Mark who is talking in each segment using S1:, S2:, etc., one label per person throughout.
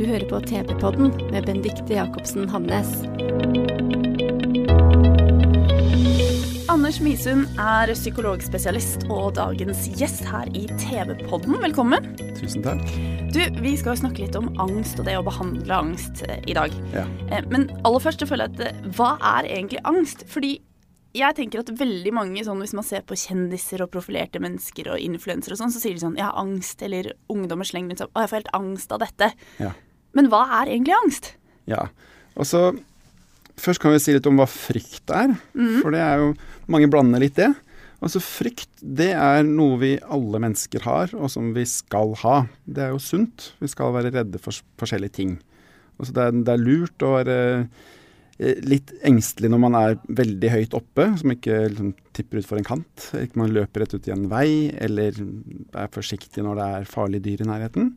S1: Du hører på TV-podden med Bendikte Jacobsen Hamnes. Anders Misund er psykologspesialist og dagens gjest her i TV-podden. Velkommen.
S2: Tusen takk.
S1: Du, Vi skal jo snakke litt om angst og det å behandle angst eh, i dag.
S2: Ja.
S1: Eh, Men aller først, så føler jeg at eh, hva er egentlig angst? Fordi jeg tenker at veldig mange, sånn, hvis man ser på kjendiser og profilerte mennesker og influensere og sånn, så sier de sånn jeg har angst, eller ungdommer slenger rundt seg å jeg får helt angst av dette.
S2: Ja.
S1: Men hva er egentlig angst?
S2: ja. Og så Først kan vi si litt om hva frykt er. For det er jo Mange blander litt det. Altså Frykt det er noe vi alle mennesker har, og som vi skal ha. Det er jo sunt. Vi skal være redde for s- forskjellige ting. Og så det, er, det er lurt å være eh, litt engstelig når man er veldig høyt oppe, som ikke liksom, tipper utfor en kant. Ikke man løper rett ut i en vei, eller er forsiktig når det er farlige dyr i nærheten.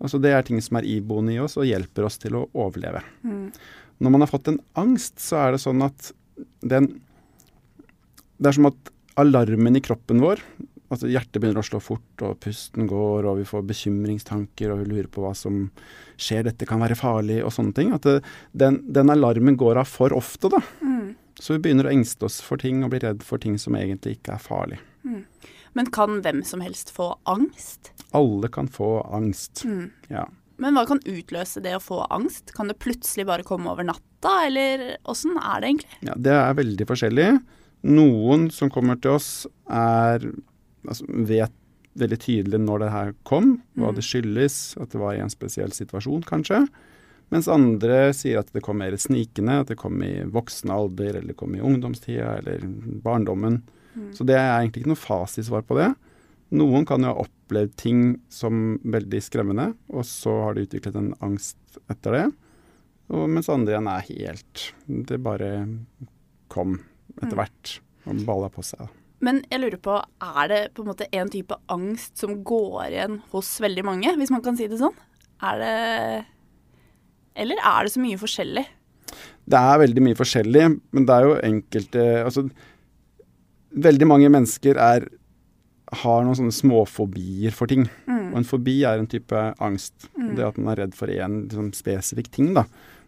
S2: Altså Det er ting som er iboende i oss og hjelper oss til å overleve. Når man har fått en angst, så er det sånn at den Det er som at alarmen i kroppen vår Altså Hjertet begynner å slå fort, og pusten går, og vi får bekymringstanker, og vi lurer på hva som skjer, dette kan være farlig, og sånne ting. At det, den, den alarmen går av for ofte, da. Så vi begynner å engste oss for ting, og bli redd for ting som egentlig ikke er farlig.
S1: Men kan hvem som helst få angst?
S2: Alle kan få angst. Ja.
S1: Men hva kan utløse det å få angst? Kan det plutselig bare komme over natta, eller åssen er det egentlig?
S2: Ja, det er veldig forskjellig. Noen som kommer til oss, er, altså, vet veldig tydelig når det her kom, hva det skyldes, at det var i en spesiell situasjon kanskje. Mens andre sier at det kom mer snikende, at det kom i voksen alder, eller det kom i ungdomstida, eller barndommen. Så det er egentlig ikke noe fasitsvar på det. Noen kan jo ha opplevd ting som veldig skremmende, og så har de utviklet en angst etter det. Og mens andre igjen er helt Det bare kom etter hvert og balla på seg.
S1: Men jeg lurer på, er det på en måte en type angst som går igjen hos veldig mange, hvis man kan si det sånn? Er det Eller er det så mye forskjellig?
S2: Det er veldig mye forskjellig, men det er jo enkelte Altså, veldig mange mennesker er har noen sånne småfobier for ting. Og en fobi er en type angst. Det at man er redd for én liksom, spesifikk ting, da.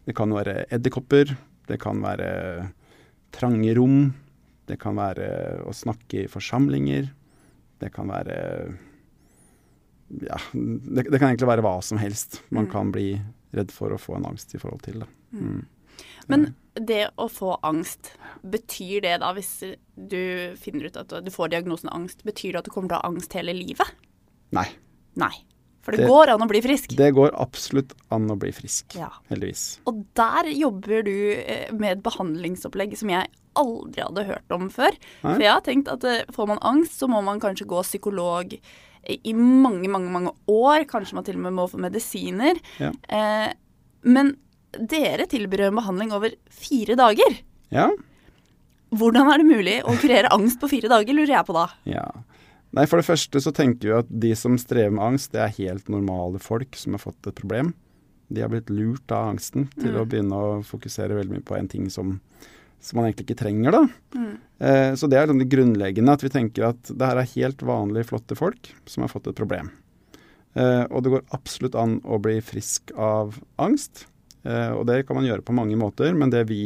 S2: Det kan være edderkopper, det kan være trange rom, det kan være å snakke i forsamlinger, det kan være Ja, det, det kan egentlig være hva som helst man kan bli redd for å få en angst i forhold til, da.
S1: Men det å få angst, betyr det da, hvis du finner ut at du får diagnosen angst, betyr det at du kommer til å ha angst hele livet?
S2: Nei.
S1: Nei. For det,
S2: Det-
S1: går an å bli frisk.
S2: Det går absolutt an å bli frisk.
S1: Ja.
S2: Heldigvis.
S1: Og der jobber du eh, med et behandlingsopplegg som jeg aldri hadde hørt om før.
S2: Nei.
S1: For jeg har tenkt at eh, får man angst, så må man kanskje gå psykolog eh, i mange, mange, mange år. Kanskje man til og med må få medisiner.
S2: Ja.
S1: Eh, men dere tilbyr en behandling over fire dager.
S2: Ja.
S1: Hvordan er det mulig å kurere angst på fire dager, lurer jeg på da.
S2: ja. Nei, for det første så tenker vi at de som strever med angst, det er helt normale folk som har fått et problem. De har blitt lurt av angsten til
S1: Mm.
S2: å begynne å fokusere veldig mye på en ting som, som man egentlig ikke trenger, da. Eh, så det er liksom det grunnleggende, at vi tenker at det her er helt vanlige, flotte folk som har fått et problem. Eh, og det går absolutt an å bli frisk av angst. Eh, og det kan man gjøre på mange måter, men det vi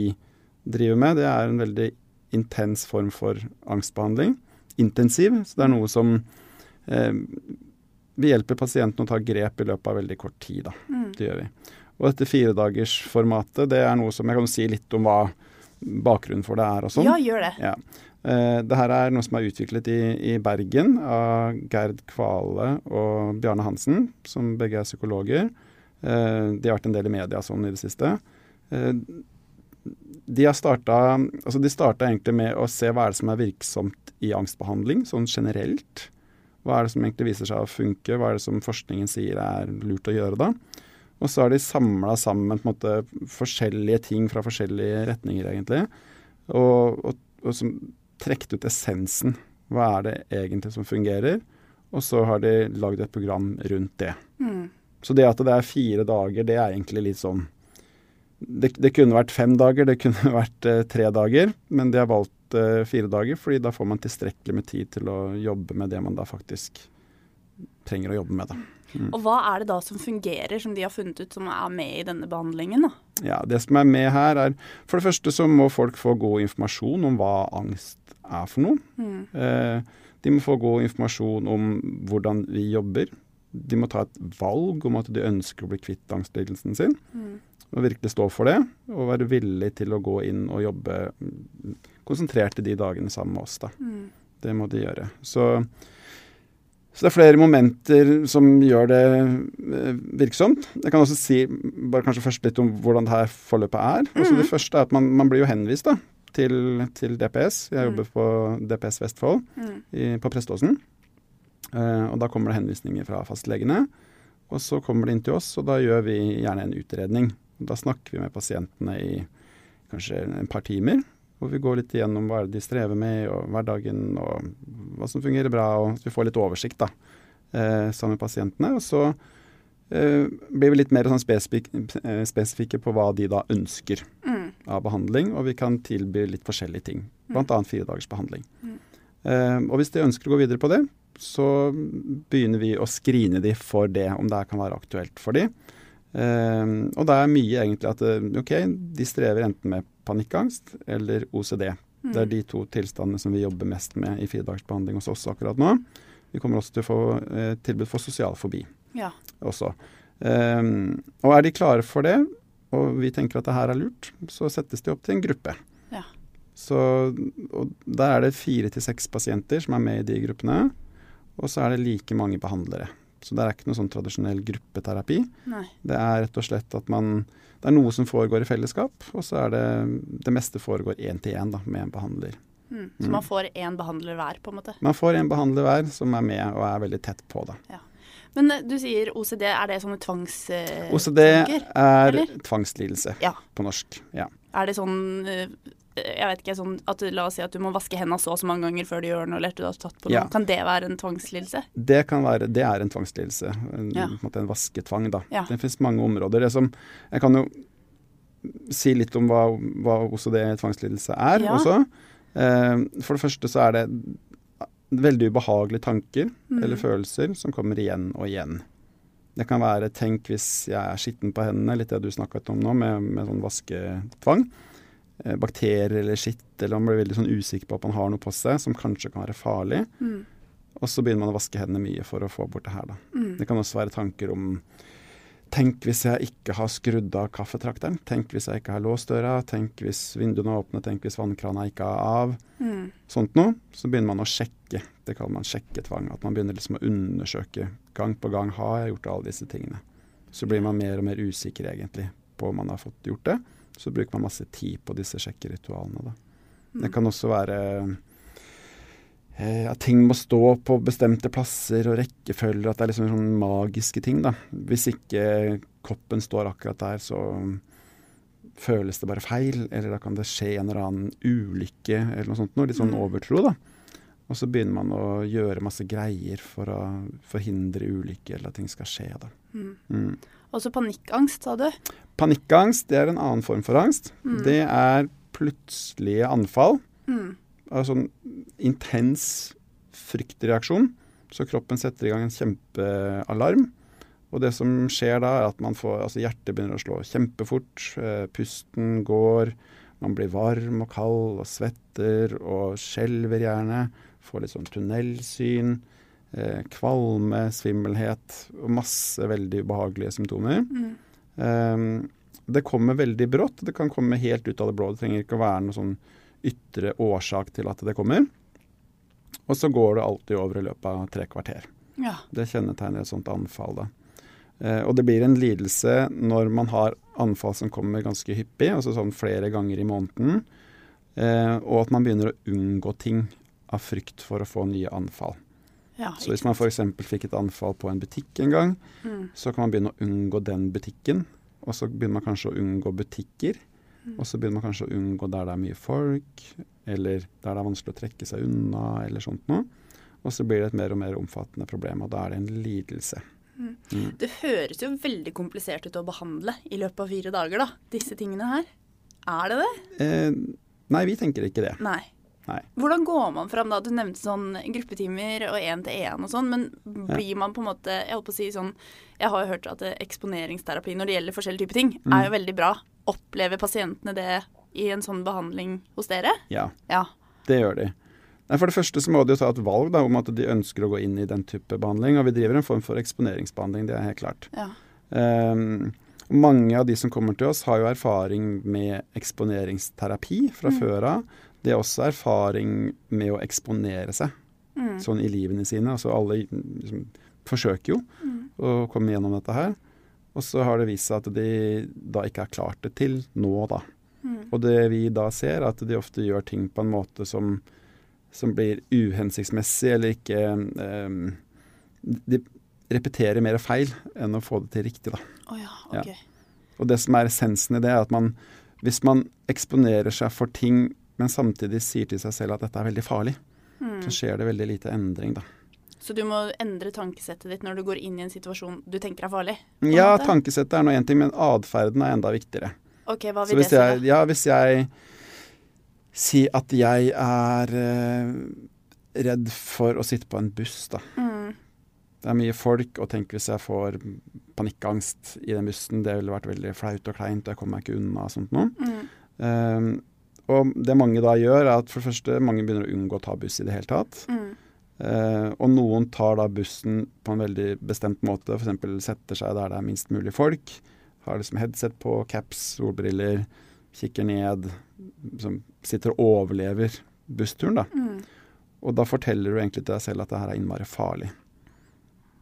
S2: driver med, det er en veldig intens form for angstbehandling. Intensiv. Så det er noe som eh, Vi hjelper pasienten å ta grep i løpet av veldig kort tid, da. Det gjør vi. Og dette firedagersformatet, det er noe som Jeg kan jo si litt om hva bakgrunnen for det er og sånn.
S1: Ja, gjør det.
S2: Ja. Eh, det her er noe som er utviklet i, i Bergen av Gerd Kvale og Bjarne Hansen, som begge er psykologer. Eh, de har vært en del i media sånn i det siste. Eh, De har starta altså de starta egentlig med å se hva er det som er virksomt i angstbehandling, sånn generelt. Hva er det som egentlig viser seg å funke, hva er det som forskningen sier er lurt å gjøre da. Og så har de samla sammen på en måte, forskjellige ting fra forskjellige retninger, egentlig. Og, og, og som trukket ut essensen. Hva er det egentlig som fungerer? Og så har de lagd et program rundt det. Så det at det er fire dager, det er egentlig litt sånn det, det kunne vært fem dager, det kunne vært eh, tre dager, men de har valgt eh, fire dager, fordi da får man tilstrekkelig med tid til å jobbe med det man da faktisk trenger å jobbe med. Da.
S1: Og hva er det da som fungerer, som de har funnet ut som er med i denne behandlingen? da?
S2: Ja, det som er med her er For det første så må folk få god informasjon om hva angst er for noe. Eh, de må få god informasjon om hvordan vi jobber. De må ta et valg om at de ønsker å bli kvitt angstlidelsen sin. Og virkelig stå for det. Og være villig til å gå inn og jobbe mm, konsentrert i de dagene sammen med oss. Da. Det må de gjøre. Så, så det er flere momenter som gjør det eh, virksomt. Jeg kan også si bare kanskje først litt om hvordan det her forløpet er. Altså Det første er at man, man blir jo henvist da, til, til DPS. Jeg jobber på DPS Vestfold i, på Preståsen. Eh, og da kommer det henvisninger fra fastlegene. Og så kommer det inn til oss, og da gjør vi gjerne en utredning. Da snakker vi med pasientene i kanskje et par timer. Hvor vi går litt igjennom hva er det de strever med, og hverdagen, og hva som fungerer bra. og Så vi får litt oversikt da, eh, sammen med pasientene. Og så eh, blir vi litt mer sånn spesifik, eh, spesifikke på hva de da ønsker av behandling. Og vi kan tilby litt forskjellige ting, bl.a. fire dagers behandling. Eh, og hvis de ønsker å gå videre på det, så begynner vi å skrine de for det, om det her kan være aktuelt for de. Eh, og det er mye egentlig at eh, ok, de strever enten med panikkangst eller OCD. Det er de to tilstandene som vi jobber mest med i firedagersbehandling hos oss akkurat nå. Vi kommer også til å få eh, tilbud for sosial fobi
S1: Ja.
S2: også. Ehm, og er de klare for det, og vi tenker at det her er lurt, så settes de opp til en gruppe.
S1: Ja.
S2: Så, og der er det fire til seks pasienter som er med i de gruppene, og så er det like mange behandlere. Så det er ikke noe sånn tradisjonell gruppeterapi.
S1: Nei.
S2: Det er rett og slett at man Det er noe som foregår i fellesskap, og så er det Det meste foregår én til én da, med en behandler.
S1: Mm. Så man får én behandler hver, på en måte.
S2: Man får en behandler hver som er med og er veldig tett på, da.
S1: Ja. Men eh, du sier OCD, er det sånne eh, tvangstanker?
S2: OCD er tvangslidelse
S1: Ja.
S2: på norsk. Ja.
S1: Er det sånn eh, jeg vet ikke, sånn at du, La oss si at du må vaske hendene så og så mange ganger før du gjør noe, eller etter du har tatt på noe.
S2: Ja.
S1: Kan det være en tvangslidelse?
S2: Det, kan være, det er en tvangslidelse. En,
S1: Ja.
S2: på en, måte en vasketvang, da.
S1: Ja.
S2: Det finnes mange områder. Det som, jeg kan jo si litt om hva, hva OCD tvangslidelse er
S1: Ja.
S2: også. Eh, for det første så er det veldig ubehagelige tanker eller følelser som kommer igjen og igjen. Det kan være 'tenk hvis jeg er skitten på hendene', litt det du snakket om nå, med, med sånn vasketvang. Eh, Bakterier eller skitt, eller man blir veldig sånn usikker på at man har noe på seg som kanskje kan være farlig. Og så begynner man å vaske hendene mye for å få bort det her, da. Det kan også være tanker om Tenk hvis jeg ikke har skrudd av kaffetrakteren. Tenk hvis jeg ikke har låst døra. Tenk hvis vinduene er åpne. Tenk hvis vannkrana ikke er av. Sånt noe. Så begynner man å sjekke. Det kaller man sjekketvang. At man begynner liksom å undersøke gang på gang har jeg gjort alle disse tingene. Så blir man mer og mer usikker egentlig på om man har fått gjort det. Så bruker man masse tid på disse sjekkeritualene. Da. Det kan også være eh, at ting må stå på bestemte plasser og rekkefølger, at det er liksom sånne magiske ting. Da. Hvis ikke koppen står akkurat der, så um, føles det bare feil, eller da kan det skje en eller annen ulykke eller noe sånt. Noe. Litt sånn overtro, da. Og så begynner man å gjøre masse greier for å forhindre ulykker eller at ting skal skje. da.
S1: Også panikkangst, sa du?
S2: Panikkangst det er en annen form for angst. Det er plutselige anfall. Altså en intens fryktreaksjon. Så kroppen setter i gang en kjempealarm. Og det som skjer da, er at man får, altså hjertet begynner å slå kjempefort. eh, Pusten går. Man blir varm og kald og svetter og skjelver gjerne. Får litt sånn tunnelsyn. eh, Kvalme, svimmelhet og masse veldig ubehagelige symptomer. Ehm, det kommer veldig brått. Det kan komme helt ut av det blå. Det trenger ikke å være noen sånn ytre årsak til at det kommer. Og så går det alltid over i løpet av tre kvarter.
S1: Ja.
S2: Det kjennetegner et sånt anfall, da. Eh, Og det blir en lidelse når man har anfall som kommer ganske hyppig, altså sånn flere ganger i måneden, eh, og at man begynner å unngå ting av frykt for å få nye anfall.
S1: Ja,
S2: Så hvis man f.eks. fikk et anfall på en butikk en gang, så kan man begynne å unngå den butikken. Og så begynner man kanskje å unngå butikker. Og så begynner man kanskje å unngå der det er mye folk, eller der det er vanskelig å trekke seg unna, eller sånt noe. Og så blir det et mer og mer omfattende problem, og da er det en lidelse.
S1: Det høres jo veldig komplisert ut å behandle i løpet av fire dager, da. Disse tingene her. Er det det?
S2: Eh, nei, vi tenker ikke det.
S1: Nei.
S2: Nei.
S1: Hvordan går man fram da? Du nevnte sånn gruppetimer og én-til-én og sånn, men blir man på en måte Jeg holdt på å si sånn Jeg har jo hørt at eh, eksponeringsterapi når det gjelder forskjellige typer ting,
S2: Mm.
S1: er jo veldig bra. Opplever pasientene det i en sånn behandling hos dere?
S2: Ja,
S1: Ja.
S2: det gjør de. Nei, for det første så må de jo ta et valg da, om at de ønsker å gå inn i den type behandling, og vi driver en form for eksponeringsbehandling, det er helt klart.
S1: ja.
S2: Ehm, mange av de som kommer til oss, har jo erfaring med eksponeringsterapi fra før av. De har også erfaring med å eksponere seg sånn i livene sine. Altså alle liksom, forsøker jo å komme gjennom dette her. Og så har det vist seg at de da ikke har klart det til nå, da. Og det vi da ser, er at de ofte gjør ting på en måte som, som blir uhensiktsmessig eller ikke ehm, De repeterer mer feil enn å få det til riktig, da.
S1: Å ja,
S2: Ja.
S1: ok.
S2: Og det som er essensen i det, er at man, hvis man eksponerer seg for ting, men samtidig sier til seg selv at dette er veldig farlig, så skjer det veldig lite endring, da.
S1: Så du må endre tankesettet ditt når du går inn i en situasjon du tenker er farlig? på en
S2: Ja,
S1: måte?
S2: tankesettet er nå én ting, men atferden er enda viktigere.
S1: Ok, hva vil
S2: Så
S1: det
S2: hvis
S1: si?
S2: jeg,
S1: da?
S2: ja, hvis jeg sier at jeg er eh, redd for å sitte på en buss, da.
S1: Mm.
S2: Det er mye folk, og tenk hvis jeg får panikkangst i den bussen. Det ville vært veldig flaut og kleint, og jeg kommer meg ikke unna og sånt noe.
S1: Mm.
S2: Eh, og det mange da gjør, er at for det første, mange begynner å unngå å ta buss i det hele tatt.
S1: Mm.
S2: Eh, og noen tar da bussen på en veldig bestemt måte, f.eks. setter seg der det er minst mulig folk. Har liksom headset på, caps, solbriller, kikker ned. Som sitter og overlever bussturen, da. Og da forteller du egentlig til deg selv at det her er innmari farlig.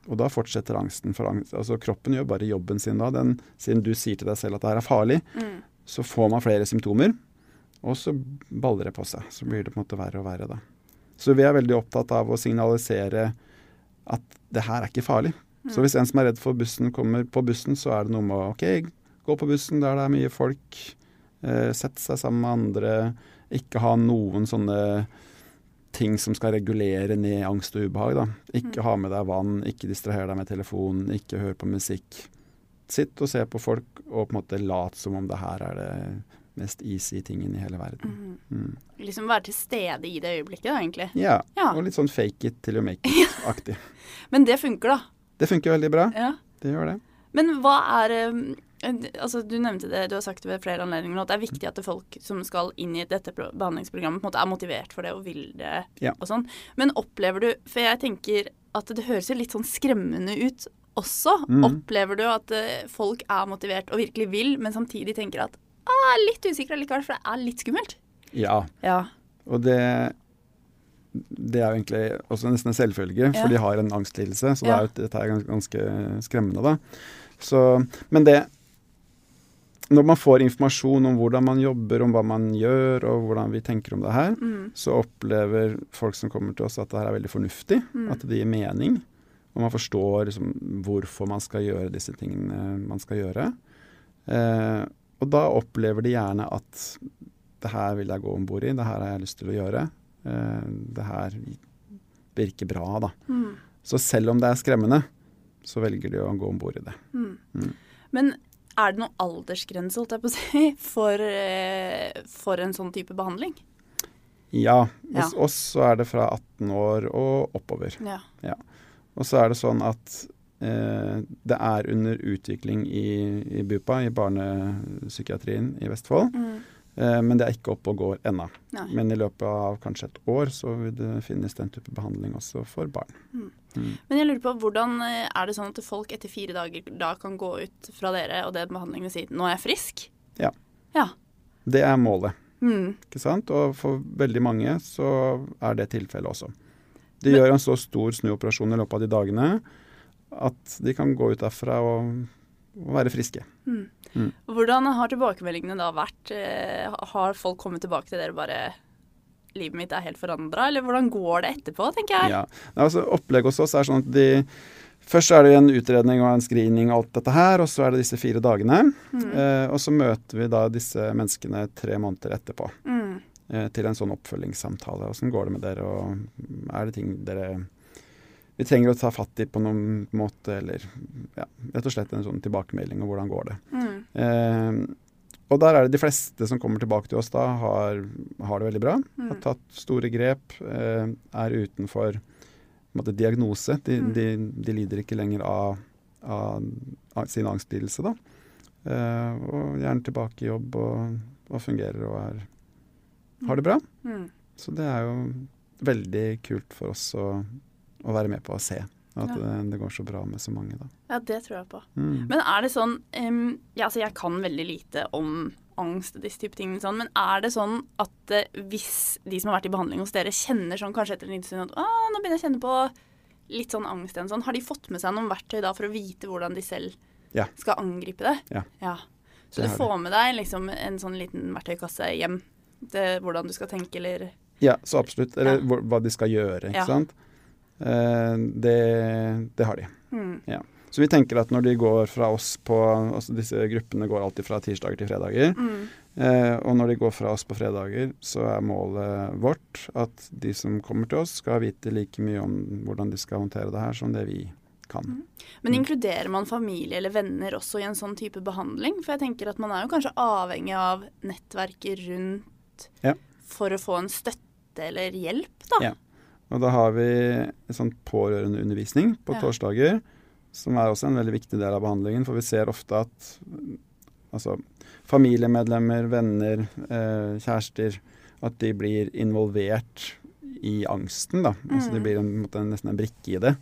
S2: Og da fortsetter angsten. For angst. altså, kroppen gjør bare jobben sin da. Den, siden du sier til deg selv at det her er farlig, så får man flere symptomer. Og så baller det på seg. Så blir det på en måte verre og verre, da. Så vi er veldig opptatt av å signalisere at det her er ikke farlig. Så hvis en som er redd for bussen kommer på bussen, så er det noe med å OK, gå på bussen der det er mye folk. Eh, sette seg sammen med andre. Ikke ha noen sånne ting som skal regulere ned angst og ubehag. Da. Ikke ha med deg vann, ikke distraher deg med telefonen, ikke hør på musikk. Sitt og se på folk og på en måte lat som om det her er det mest easy tingen i hele verden.
S1: Liksom være til stede i det øyeblikket, da, egentlig.
S2: Ja,
S1: Ja.
S2: og litt sånn fake it till you make it-aktig.
S1: Men det funker, da.
S2: Det funker veldig bra.
S1: Ja.
S2: Det gjør det.
S1: Men hva er um, altså Du nevnte det, du har sagt det ved flere anledninger nå, at det er viktig at det folk som skal inn i dette pro- behandlingsprogrammet, på en måte er motivert for det og vil det
S2: Ja.
S1: og sånn. Men opplever du For jeg tenker at det høres jo litt sånn skremmende ut også. Opplever du at eh, folk er motivert og virkelig vil, men samtidig tenker at ah, litt usikker allikevel, for det er litt skummelt?
S2: Ja,
S1: Ja.
S2: og det det er jo egentlig også nesten en selvfølge, for
S1: Ja.
S2: de har en angstlidelse. Så det
S1: Ja.
S2: er jo, dette er gans- ganske skremmende, da. Så, men det Når man får informasjon om hvordan man jobber, om hva man gjør, og hvordan vi tenker om det her,
S1: Mm.
S2: så opplever folk som kommer til oss at det her er veldig fornuftig.
S1: Mm.
S2: At det gir mening. Og man forstår liksom, hvorfor man skal gjøre disse tingene man skal gjøre. Eh, og da opplever de gjerne at det her vil jeg gå om bord i, det her har jeg lyst til å gjøre. Eh, det her virker bra, da.
S1: Mm.
S2: Så selv om det er skremmende, så velger de å gå om bord i det.
S1: Men er det noen aldersgrense, holdt jeg på å si, for, eh, for en sånn type behandling?
S2: Ja, hos
S1: Ja.
S2: oss så er det fra 18 år og oppover.
S1: Ja.
S2: Ja. Og så er det sånn at eh, det er under utvikling i, i BUPA, i barnepsykiatrien i Vestfold. Eh, men det er ikke oppe og går ennå.
S1: Mm. Nei.
S2: Men i løpet av kanskje et år så vil det finnes den type behandling også for barn.
S1: Men jeg lurer på, hvordan eh, er det sånn at folk etter fire dager da kan gå ut fra dere og den behandlingen og si 'nå er jeg frisk'?
S2: Ja.
S1: Ja.
S2: Det er målet.
S1: Mm.
S2: Ikke sant? Og for veldig mange så er det tilfellet også. De gjør en så stor snuoperasjon i løpet av de dagene At de kan gå ut derfra og, og være friske.
S1: Hvordan har tilbakemeldingene da vært? Eh, Har folk kommet tilbake til dere og bare Livet mitt er helt forandra, eller hvordan går det etterpå, tenker jeg.
S2: Ja. Nei, Altså, opplegget hos oss er sånn at de Først så er det en utredning og en screening og alt dette her, og så er det disse fire dagene. Eh, og så møter vi da disse menneskene tre måneder etterpå
S1: Mm.
S2: eh, til en sånn oppfølgingssamtale. Åssen går det med dere, og er det ting dere vi trenger å ta fatt i på noen måte, eller ja, rett og slett en sånn tilbakemelding om hvordan går det.
S1: Mm.
S2: Eh, og der er det de fleste som kommer tilbake til oss da, har, har det veldig bra.
S1: Hmm. Mm.
S2: Har tatt store grep, eh, er utenfor på en måte, diagnose. De, de, de lider ikke lenger av, av, av sin angstlidelse, da. Eh, og gjerne tilbake i jobb og, og fungerer og er, har det bra.
S1: Mm.
S2: Så det er jo veldig kult for oss å, å være med på å se. og
S1: Ja.
S2: At det, det går så bra med så mange, da.
S1: Ja, det tror jeg på.
S2: Mm.
S1: Men er det sånn em, ja, altså Jeg kan veldig lite om angst og disse type tingene, sånn, men er det sånn at eh, hvis de som har vært i behandling hos dere, kjenner sånn kanskje etter en liten stund at «Å, nå begynner jeg å kjenne på litt sånn angst igjen, sånn, har de fått med seg noen verktøy da for å vite hvordan de selv
S2: Ja.
S1: skal angripe det?
S2: Ja.
S1: Så du
S2: Det har de.
S1: får med deg liksom en sånn liten verktøykasse hjem? Det, hvordan du skal tenke, eller
S2: Ja, så absolutt.
S1: Ja.
S2: Eller hvor- hva de skal gjøre,
S1: Ja.
S2: ikke sant. Eh, det, det har de.
S1: Mm.
S2: Ja. Så vi tenker at når de går fra oss på altså Disse gruppene går alltid fra tirsdager til fredager.
S1: Mm.
S2: Eh, og når de går fra oss på fredager, så er målet vårt at de som kommer til oss, skal vite like mye om hvordan de skal håndtere det her, som det vi
S1: Mm.
S2: kan.
S1: Men
S2: Mm.
S1: inkluderer man familie eller venner også i en sånn type behandling? For jeg tenker at man er jo kanskje avhengig av nettverket rundt
S2: Ja.
S1: for å få en støtte eller hjelp, da.
S2: Ja. Og da har vi en sånn pårørendeundervisning på
S1: Ja.
S2: torsdager, som er også en veldig viktig del av behandlingen, for vi ser ofte at mm, altså, familiemedlemmer, venner, eh, kjærester, at de blir involvert i angsten, da. Altså
S1: Mm.
S2: de blir en, på en måte, nesten en brikke i det,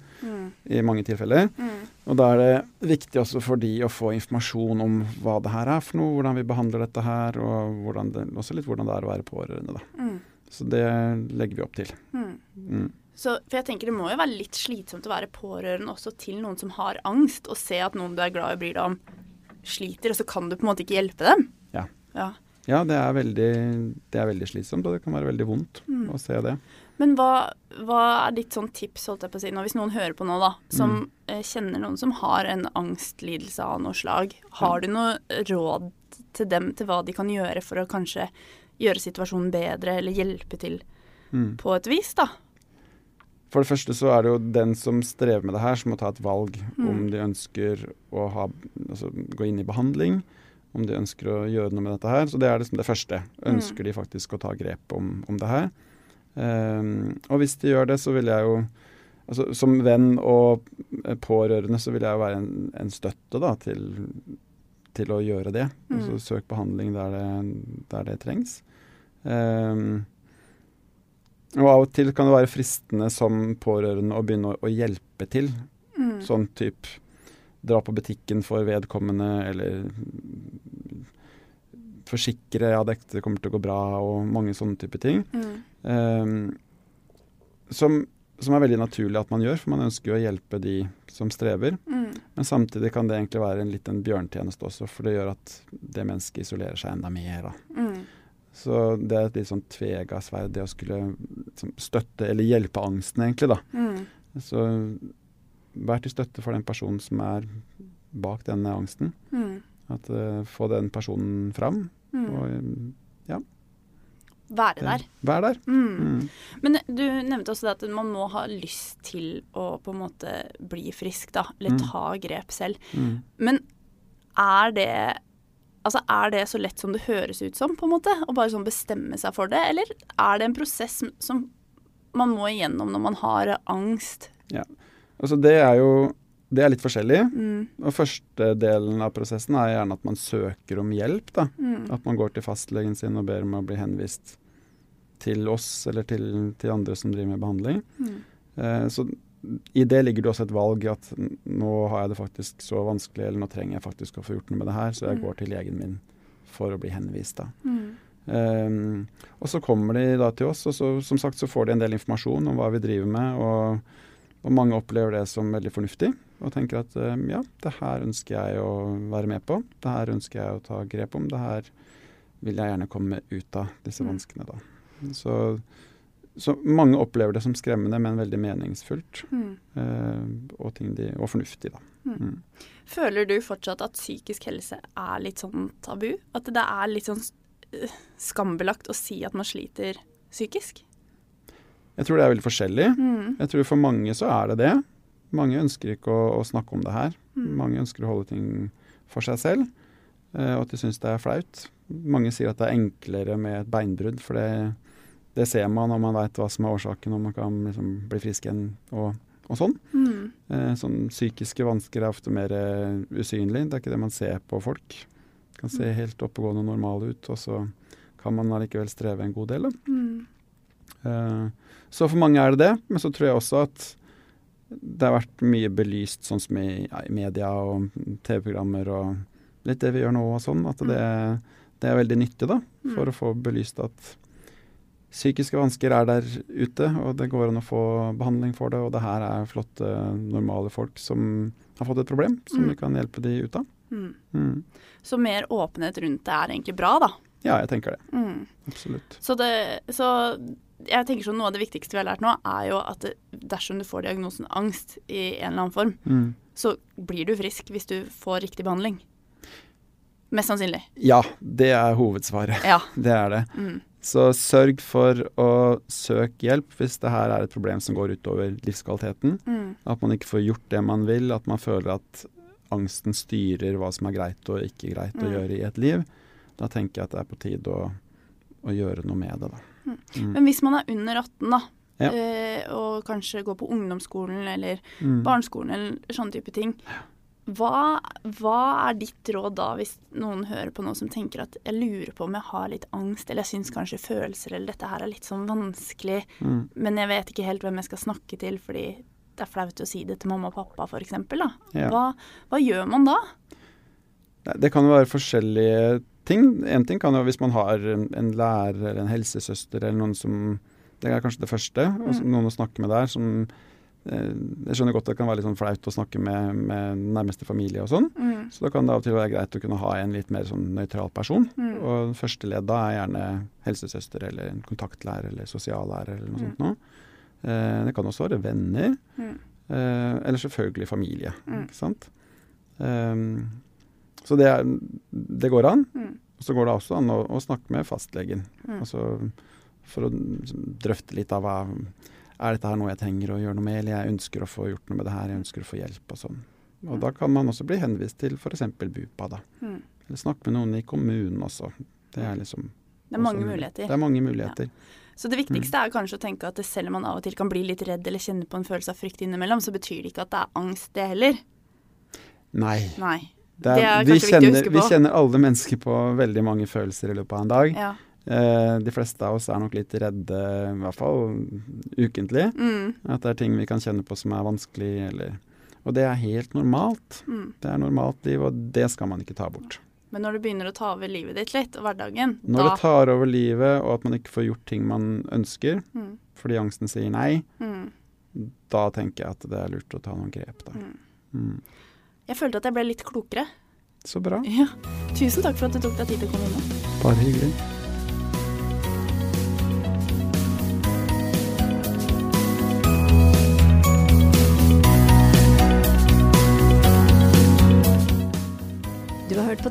S2: i mange tilfeller.
S1: Mm.
S2: Og da er det viktig også for de å få informasjon om hva det her er for noe, hvordan vi behandler dette her, og hvordan det, også litt hvordan det er å være pårørende, da.
S1: Mm.
S2: Så det legger vi opp til. Mm.
S1: Så, for jeg tenker det må jo være litt slitsomt å være pårørende også til noen som har angst, og se at noen du er glad i bryr deg om, sliter, og så kan du på en måte ikke hjelpe dem.
S2: Ja.
S1: Ja.
S2: Ja, det er veldig, det er veldig slitsomt, og det kan være veldig vondt å se det.
S1: Men hva, hva er ditt sånn tips, holdt jeg på å si, nå, hvis noen hører på nå, da, som eh, kjenner noen som har en angstlidelse av noe slag, har du noe råd til dem til hva de kan gjøre for å kanskje gjøre situasjonen bedre, eller hjelpe til
S2: Mm.
S1: på et vis, da?
S2: For det første så er det jo den som strever med det her, som må ta et valg om de ønsker å ha, altså, gå inn i behandling, om de ønsker å gjøre noe med dette her. Så det er liksom det første. Ønsker de faktisk å ta grep om, om det her? Ehm, og hvis de gjør det, så vil jeg jo altså, Som venn og eh, pårørende så vil jeg jo være en, en støtte da, til, til å gjøre det. Altså, søk behandling der det, der det trengs. Ehm, og av og til kan det være fristende som pårørende å begynne å, å hjelpe til. Sånn type dra på butikken for vedkommende, eller mm, forsikre at dette kommer til å gå bra, og mange sånne type ting. Ehm, som, som er veldig naturlig at man gjør, for man ønsker jo å hjelpe de som strever. Men samtidig kan det egentlig være en liten bjørntjeneste også, for det gjør at det mennesket isolerer seg enda mer. Da. Så det er et litt sånn tvega sverd, det å skulle liksom, støtte eller hjelpe angsten, egentlig, da. Så vær til støtte for den personen som er bak denne angsten. At eh, Få den personen fram, og eh,
S1: Være der.
S2: vær der.
S1: Men du nevnte også det at man må ha lyst til å på en måte bli frisk, da. Eller ta grep selv. Men er det Altså, er det så lett som det høres ut som, på en måte? Å bare sånn bestemme seg for det? Eller er det en prosess som- som man må igjennom når man har angst?
S2: Ja. Altså det er jo det er litt forskjellig. Og første delen av prosessen er gjerne at man søker om hjelp. Da. At man går til fastlegen sin og ber om å bli henvist til oss eller til, til andre som driver med behandling.
S1: Mm.
S2: Eh, så i det ligger det også et valg i at n- nå har jeg det faktisk så vanskelig, eller nå trenger jeg faktisk å få gjort noe med det her, så jeg går til legen min for å bli henvist. Da.
S1: Mm.
S2: Ehm, og så kommer de da til oss, og så, som sagt så får de en del informasjon om hva vi driver med, og, og mange opplever det som veldig fornuftig. og tenker at eh, ja, det her ønsker jeg å være med på. Det her ønsker jeg å ta grep om. Det her vil jeg gjerne komme ut av disse
S1: Mm.
S2: vanskene, da. Så, så mange opplever det som skremmende, men veldig meningsfullt.
S1: Mm.
S2: eh, og, ting de, og fornuftig, da. Mm.
S1: Føler du fortsatt at psykisk helse er litt sånn tabu? At det er litt sånn øh, skambelagt å si at man sliter psykisk?
S2: Jeg tror det er veldig forskjellig. Jeg tror for mange så er det det. Mange ønsker ikke å, å snakke om det her. Mange ønsker å holde ting for seg selv, eh, og at de syns det er flaut. Mange sier at det er enklere med et beinbrudd, for det, det ser man når man veit hva som er årsaken, og man kan liksom bli frisk igjen og, og sånn.
S1: Mm.
S2: Eh, sånn psykiske vansker er ofte mer eh, usynlig. Det er ikke det man ser på folk. Kan se helt oppegående og normale ut, og så kan man allikevel streve en god del. Da.
S1: Mm.
S2: Eh, Så for mange er det det, men så tror jeg også at det har vært mye belyst sånn som i, ja, i media og TV-programmer og litt det vi gjør nå og sånn, at det, det er veldig nyttig da, for å få belyst at psykiske vansker er der ute, og det går an å få behandling for det, og det her er flotte, normale folk som har fått et problem, som vi kan hjelpe de ut av.
S1: Mm.
S2: Mm.
S1: Så mer åpenhet rundt det er egentlig bra, da.
S2: Ja, jeg tenker det.
S1: Mm.
S2: Absolutt.
S1: Så, det, så jeg tenker sånn, noe av det viktigste vi har lært nå, er jo at det- dersom du får diagnosen angst i en eller annen form,
S2: Mm.
S1: så blir du frisk hvis du får riktig behandling. Mest sannsynlig.
S2: Ja, det er hovedsvaret.
S1: Ja.
S2: Det er det.
S1: Mm.
S2: Så sørg for å søke hjelp hvis det her er et problem som går utover livskvaliteten.
S1: Mm.
S2: At man ikke får gjort det man vil, at man føler at angsten styrer hva som er greit og ikke greit
S1: Mm.
S2: å gjøre i et liv. Da tenker jeg at det er på tide å, å gjøre noe med det, da.
S1: Men hvis man er under 18 da,
S2: Mm. Ja.
S1: eh, og kanskje går på ungdomsskolen eller
S2: Mm.
S1: barneskolen eller sånne type ting, hva, hva er ditt råd da hvis noen hører på noe som tenker at jeg lurer på om jeg har litt angst, eller jeg syns kanskje følelser eller dette her er litt sånn vanskelig,
S2: Mm.
S1: men jeg vet ikke helt hvem jeg skal snakke til fordi det er flaut å si det til mamma og pappa f.eks. da.
S2: Ja.
S1: Hva, hva gjør man da?
S2: Nei, Det kan jo være forskjellige ting. En ting kan jo hvis man har en en lærer eller en helsesøster eller noen som Det er kanskje det første. og så- Noen å snakke med der som eh, Jeg skjønner godt det kan være litt sånn flaut å snakke med, med nærmeste familie og sånn. Så da kan det av og til være greit å kunne ha en litt mer sånn nøytral person. Og første ledd da er gjerne helsesøster eller en kontaktlærer eller sosiallærer eller noe sånt noe. Eh, Det kan også være venner. Eh, Eller selvfølgelig familie. Ikke sant? Eh, så det, er, det går an. Og så går det også an å, å snakke med fastlegen. Altså, for å drøfte litt av hva er dette her noe jeg trenger å gjøre noe med, eller jeg ønsker å få gjort noe med det her, jeg ønsker å få hjelp og sånn. Og da kan man også bli henvist til f.eks. BUPA, da.
S1: Mm.
S2: Eller snakke med noen i kommunen også. Det er liksom
S1: Det er mange
S2: også-
S1: muligheter.
S2: Det er mange muligheter.
S1: Så det viktigste
S2: Mm.
S1: er kanskje å tenke at selv om man av og til kan bli litt redd eller kjenne på en følelse av frykt innimellom, så betyr det ikke at det er angst det heller.
S2: Nei.
S1: Nei.
S2: Det er, vi,
S1: kanskje
S2: kjenner,
S1: viktig å
S2: vi
S1: huske på.
S2: kjenner alle mennesker på veldig mange følelser i løpet av en dag.
S1: Ja.
S2: Eh, de fleste av oss er nok litt redde, i hvert fall ukentlig.
S1: Mm,
S2: At det er ting vi kan kjenne på som er vanskelig, eller Og det er helt normalt. Det er normalt liv, og det skal man ikke ta
S1: mm.
S2: bort.
S1: Men når du begynner å ta over livet ditt litt, og hverdagen,
S2: Når
S1: da
S2: det tar over livet, og at man ikke får gjort ting man ønsker,
S1: Mm.
S2: fordi angsten sier nei, da tenker jeg at det er lurt å ta noen grep, da.
S1: Jeg følte at jeg ble litt klokere.
S2: Så bra.
S1: Ja. Tusen takk for at du tok deg tid til å komme innom.
S2: Bare hyggelig.
S3: Du har hørt på